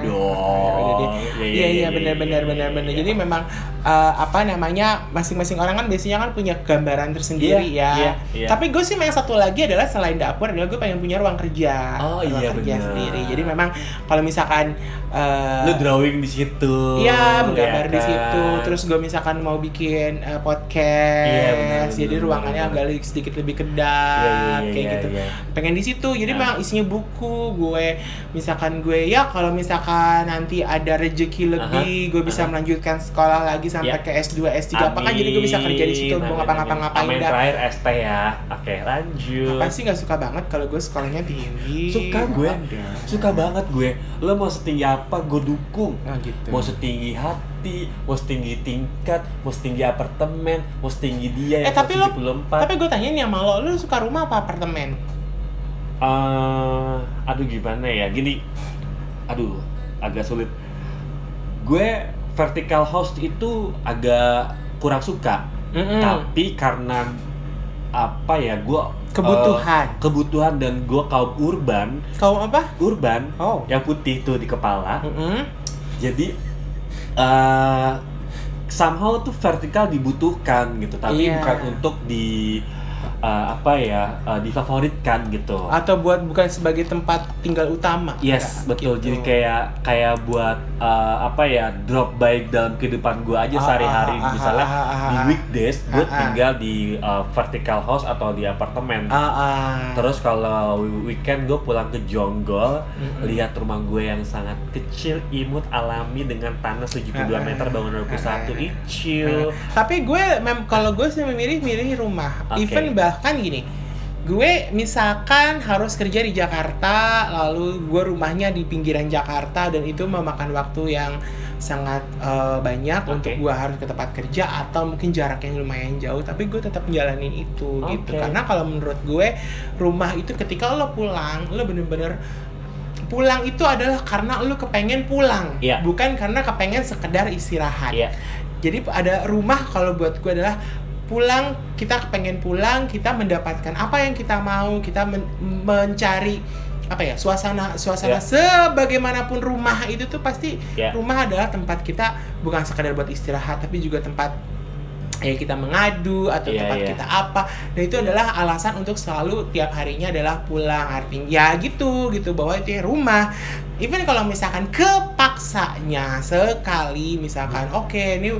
Ya udah deh. dong Iya iya benar benar benar iya. benar. Jadi memang eh, apa namanya masing-masing orang kan biasanya kan punya gambaran tersendiri Iya, ya. iya, iya. Tapi gue sih memang satu lagi adalah selain dapur adalah gue pengen punya ruang kerja. Oh, ruang iya, kerja benar. sendiri. Jadi memang kalau misalkan eh, lu drawing di situ Iya, menggambar ya di kan? situ. Terus gue misalkan mau bikin eh, Iya, benar, podcast, benar, jadi benar, ruangannya benar. agak li- sedikit lebih Iya, iya, kedap, iya, kayak iya, gitu. iya. Pengen di situ. Jadi Nah. memang isinya buku. Gue misalkan gue ya kalau misalkan nanti ada rezeki lebih, gue bisa aha. melanjutkan sekolah lagi sampai Ya. ke S2, S3 apa kan jadi gue bisa kerja di situ, Amin, mau ngapa-ngapa-ngapain amin. Amin. dah. terakhir ST ya oke lanjut Apa sih nggak suka banget kalau gue sekolahnya tinggi? suka gue Ada. suka banget gue lo mau setinggi apa gue dukung Nah, gitu. mau setinggi hati mau setinggi tingkat mau setinggi apartemen mau setinggi dia Eh yang tapi lo, 74. tapi gue tanya nih sama lo, lo suka rumah apa apartemen? eh aduh gimana ya gini aduh agak sulit gue vertical host itu agak kurang suka Mm-mm. tapi karena apa ya gue Kebutuhan. eh, kebutuhan dan gue kaum urban Kau apa? urban Oh. yang putih tuh di kepala Mm-mm. jadi eh somehow tuh vertikal dibutuhkan gitu tapi Iya. bukan untuk di eh, apa ya eh, difavoritkan gitu Atau buat bukan sebagai tempat tinggal utama. Yes, Ya, Ah, betul. gitu. Jadi kayak kayak buat eh, apa ya drop by dalam kehidupan gue aja Ah, sehari-hari. ah, ah, Misalnya ah, ah, di ah. weekdays gue Ah, ah. tinggal di eh, vertical house atau di apartemen. Ah, ah. Terus kalau weekend gue pulang ke Jonggol, Mm-mm. lihat rumah gue yang sangat kecil, imut, alami dengan tanah 72 Ah, ah, meter bangunan ah, 21 ah. kecil. Tapi gue mem kalau gue sih memilih milih rumah. Oke. Even bahkan gini. Gue misalkan harus kerja di Jakarta, lalu gue rumahnya di pinggiran Jakarta dan itu memakan waktu yang sangat eh, banyak Oke. untuk gue harus ke tempat kerja atau mungkin jaraknya lumayan jauh tapi gue tetap jalanin itu gitu Oke. karena kalau menurut gue rumah itu ketika lo pulang lo bener-bener pulang itu adalah karena lu kepengen pulang, Iya. bukan karena kepengen sekedar istirahat. Iya. Jadi ada rumah kalau buat gue adalah pulang kita pengen pulang kita mendapatkan apa yang kita mau kita men- mencari apa ya suasana suasana Ya. sebagaimanapun rumah itu tuh pasti Ya. rumah adalah tempat kita bukan sekedar buat istirahat tapi juga tempat ya kita mengadu atau Iya, tempat iya. kita apa dan itu adalah alasan untuk selalu tiap harinya adalah pulang artinya ya gitu gitu bahwa itu ya rumah even kalau misalkan kepaksanya sekali misalkan oke ini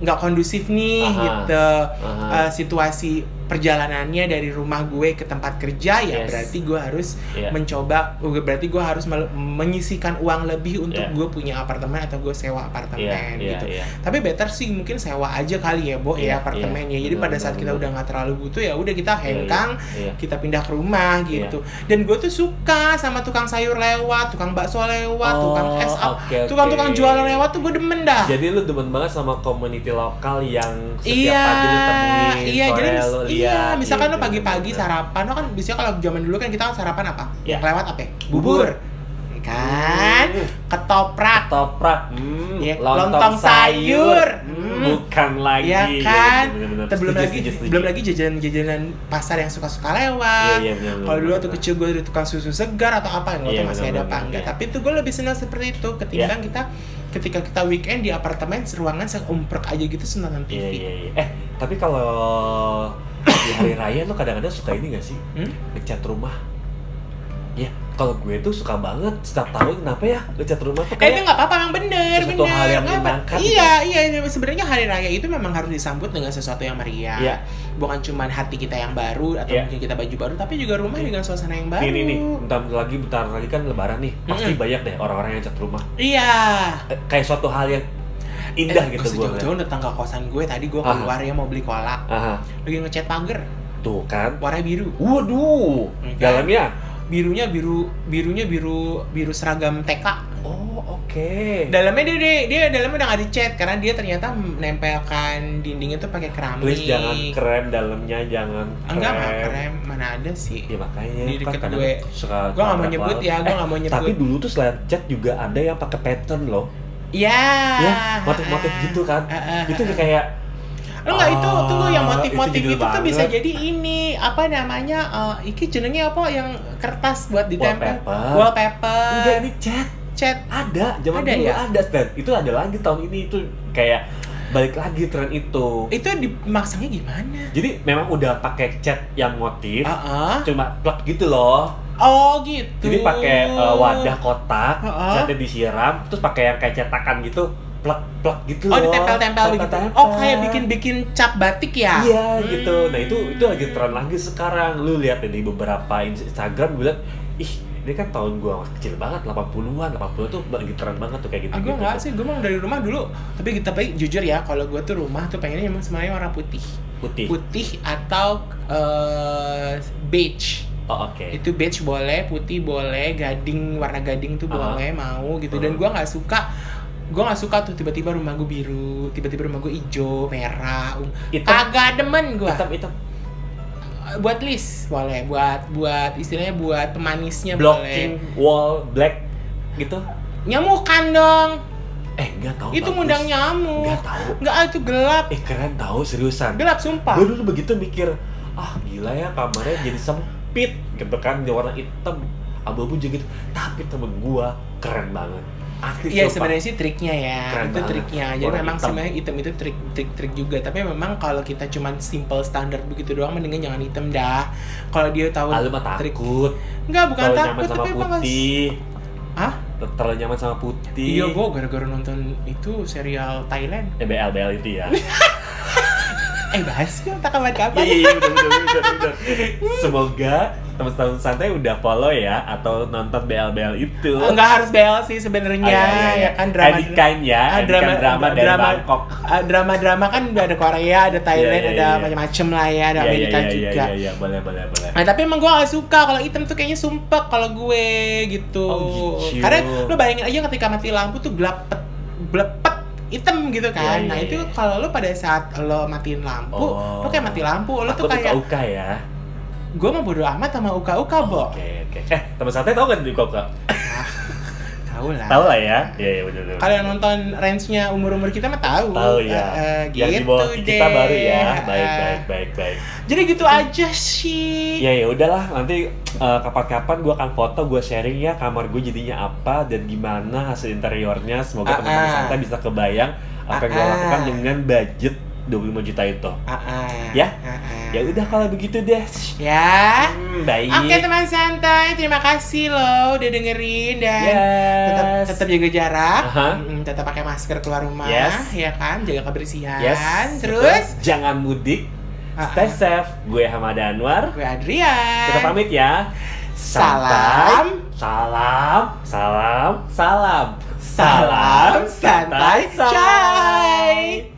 nggak kondusif nih Aha. gitu Aha. Eh, situasi perjalanannya dari rumah gue ke tempat kerja ya Yes. berarti gue harus Iya. mencoba oh, berarti gue harus mel- menyisikan uang lebih untuk Iya. gue punya apartemen atau gue sewa apartemen Iya, iya, gitu iya. tapi better sih mungkin sewa aja kali ya bo Iya, ya apartemen iya. ya jadi Benar, pada saat benar, kita benar. udah nggak terlalu butuh ya udah kita Iya, iya, hengkang iya. kita pindah ke rumah Iya. gitu dan gue tuh suka sama tukang sayur lewat tukang bakso lewat tukang Oh, es up oke, oke. tukang-tukang jualan lewat tuh gue demen dah Jadi lu demen banget sama community lokal yang setiap Iya, pagi lu temuin, iya, sore jadi mis- lu iya, lihat, misalkan gitu, lo pagi-pagi bener-bener. sarapan, lo kan biasanya kalau zaman dulu kan kita kan sarapan apa? Iya. Yang lewat apa? ya? Bubur. kan? Hmm. Ketoprak, ketoprak, hmm, Iya, lontong, lontong sayur, sayur, hmm. bukan lagi, ya Iya, kan? bener-bener. Terus belum Setuju, lagi, setuju, setuju. belum lagi jajanan-jajanan pasar yang suka-suka Iya, lewat. iya, bener-bener. Kalau dulu waktu kecil gue dari tukang susu segar atau apa yang Iya, waktu masih ada benar-benar, apa enggak. iya. Tapi itu gue lebih senang seperti itu ketimbang kita ketika kita weekend di apartemen ruangan seumprek aja gitu senang TV. Iya, iya, iya. Eh, tapi kalau di hari raya lu kadang-kadang suka ini gak sih? Hmm? Ngecat rumah. Ya, kalau gue tuh suka banget setiap tahun kenapa ya ngecat rumah Eh, tuh itu kayak nggak apa-apa, memang bener, Sesuatu bener. hal yang Nggak apa- menyenangkan gitu. Iya, iya. Sebenarnya hari raya itu memang harus disambut dengan sesuatu yang meriah. Iya. Bukan cuman hati kita yang baru atau Iya. mungkin kita baju baru, tapi juga rumah dengan suasana yang baru. Nih, nih, nih, bentar lagi, bentar lagi kan lebaran nih Pasti Mm-mm. banyak deh orang-orang yang cat rumah Iya. Eh, Kayak suatu hal yang indah Eh, gitu pas gue Jauh-jauh datang ke kosan gue tadi gue Aha. keluar ya mau beli kolak, Aha, lagi ngecat pagar, tuh kan warna biru. Waduh, Iya kan? dalamnya Birunya biru, birunya biru, biru seragam TK. Oh, oke Dalamnya dia, dia, dia dalamnya udah nggak dicat karena dia ternyata menempelkan dindingnya tuh pakai keramik. Please jangan krem dalamnya, jangan krem Enggak, enggak keren. Mana ada sih? Ya makanya Di kan deket kadang gue. suka Gue gak mau tabrak nyebut laut. ya, gue Eh, gak mau nyebut. Tapi dulu tuh selain cat juga ada yang pakai pattern loh ya, Ya, motif-motif gitu kan Itu Itu kayak Lo enggak itu tuh yang Ah, motif-motif itu itu, judul tuh bisa banget. jadi ini apa namanya? eh, iki jenengnya apa yang kertas buat ditempel? wallpaper Ah. Enggak, Wallpaper. ini cat Cat. ada zaman Ada dulu ya? ada dan itu ada lagi tahun ini itu kayak balik lagi tren itu Itu dimaksanya gimana? jadi memang udah pakai cat yang motif Heeh. cuma plug gitu loh Oh gitu. jadi pakai uh, wadah kotak Heeh. catnya disiram terus pakai yang kayak cetakan gitu plug plug gitu Oh loh ditempel-tempel begitu. Tempel-tempel. Oh kayak bikin-bikin cap batik ya? iya Hmm. gitu nah itu itu lagi tren lagi sekarang lu lihat deh di beberapa Instagram gue liat ih ini kan tahun gua kecil banget 80-an 80 tuh lagi tren banget tuh kayak gitu Ah, gue nggak sih, gue mau dari rumah dulu. Tapi kita tapi jujur ya, kalau gue tuh rumah tuh pengennya emang semuanya warna putih, putih putih atau eh, beige. oh, oke Itu beige boleh, putih boleh, gading warna gading tuh Aha. boleh mau gitu. Dan gue nggak suka, gue nggak suka tuh tiba-tiba rumah gue biru, tiba-tiba rumah gue hijau, merah. ungu. hitam Kagak demen gue. hitam hitam Buat list boleh, buat buat istilahnya buat pemanisnya blocking wall black gitu boleh. Nyamukan dong, eh nggak tahu itu bagus. ngundang nyamuk. nggak tahu Nggak, ah, itu gelap, eh keren tahu seriusan gelap sumpah. gue dulu begitu mikir ah gila ya kamarnya jadi sempit gitu kan dia warna hitam abu-abu juga gitu tapi temen gua keren banget asli Iya sumpah. sebenarnya sih triknya ya, Keren itu banget. triknya. Jadi Warna memang hitam. sebenarnya hitam itu trik trik trik juga. Tapi memang kalau kita cuman simple standar begitu doang, mendingan jangan hitam dah. Kalau dia tahu, Ah, lu mah takut enggak bukan terlalu nyaman takut sama tapi emang nggak- putih Hah? terlalu nyaman sama putih Iya, gue gara-gara nonton itu serial Thailand. eh, BL BL itu ya Eh bahas yuk, tak kapan-kapan. Iya, iya, bener, bener, bener, bener. Semoga teman-teman santai udah follow ya atau nonton BL-BL itu. Oh, Enggak harus BL sih Ah, sebenarnya, iya, iya, iya. ya kan drama. Adikan ya, Ah, drama, drama- drama dari drama- Bangkok. Ah, drama-drama kan udah ada Korea, ada Thailand, Iya, iya, ada iya. macam-macam lah ya, ada Iya, iya, Amerika iya, juga. Iya, iya, iya, boleh, boleh, boleh. Nah, tapi emang gue gak suka kalau hitam tuh kayaknya sumpek kalau gue gitu. Oh, gitu. Karena lo bayangin aja ketika mati lampu tuh gelap pet- belepet hitam gitu kan. Iya, nah, iya, itu iya. kalau lo pada saat lo matiin lampu, Oh. lo kayak mati lampu, lo tuh Aku kayak Uka ya. gue mau bodo amat sama uka-uka, Bo. Oke, oke. Eh, teman santai tau gak di Uka? Nah, tahu lah. Tahu lah ya. Iya, iya benar. benar. Kalau yang nonton range-nya umur-umur kita mah tahu. tahu Eh, ya. eh, yang di gitu bawah kita deh. baru ya. Eh, Baik, baik, baik, baik. Jadi gitu aja sih. Ya ya udahlah nanti eh, kapan-kapan gue akan foto gue sharing ya kamar gue jadinya apa dan gimana hasil interiornya semoga Ah, teman-teman ah. santai bisa kebayang apa yang gue Ah, ah. lakukan dengan budget 25 juta itu. Ah, ah. Ya. Ah, ah. Ya udah kalau begitu deh. Ya. Hmm, baik. Oke teman santai, terima kasih loh udah dengerin dan Yes. tetap tetap jaga jarak, Aha. Mm, tetap pakai masker keluar rumah, Yes. ya kan, jaga kebersihan. Yes. Terus betul. jangan mudik. Ah, Stay ah. safe. Gue Hamada Anwar. gue Adrian. Kita pamit ya. Salam. Santai. salam, salam, salam, Salam santai, santai. Shay.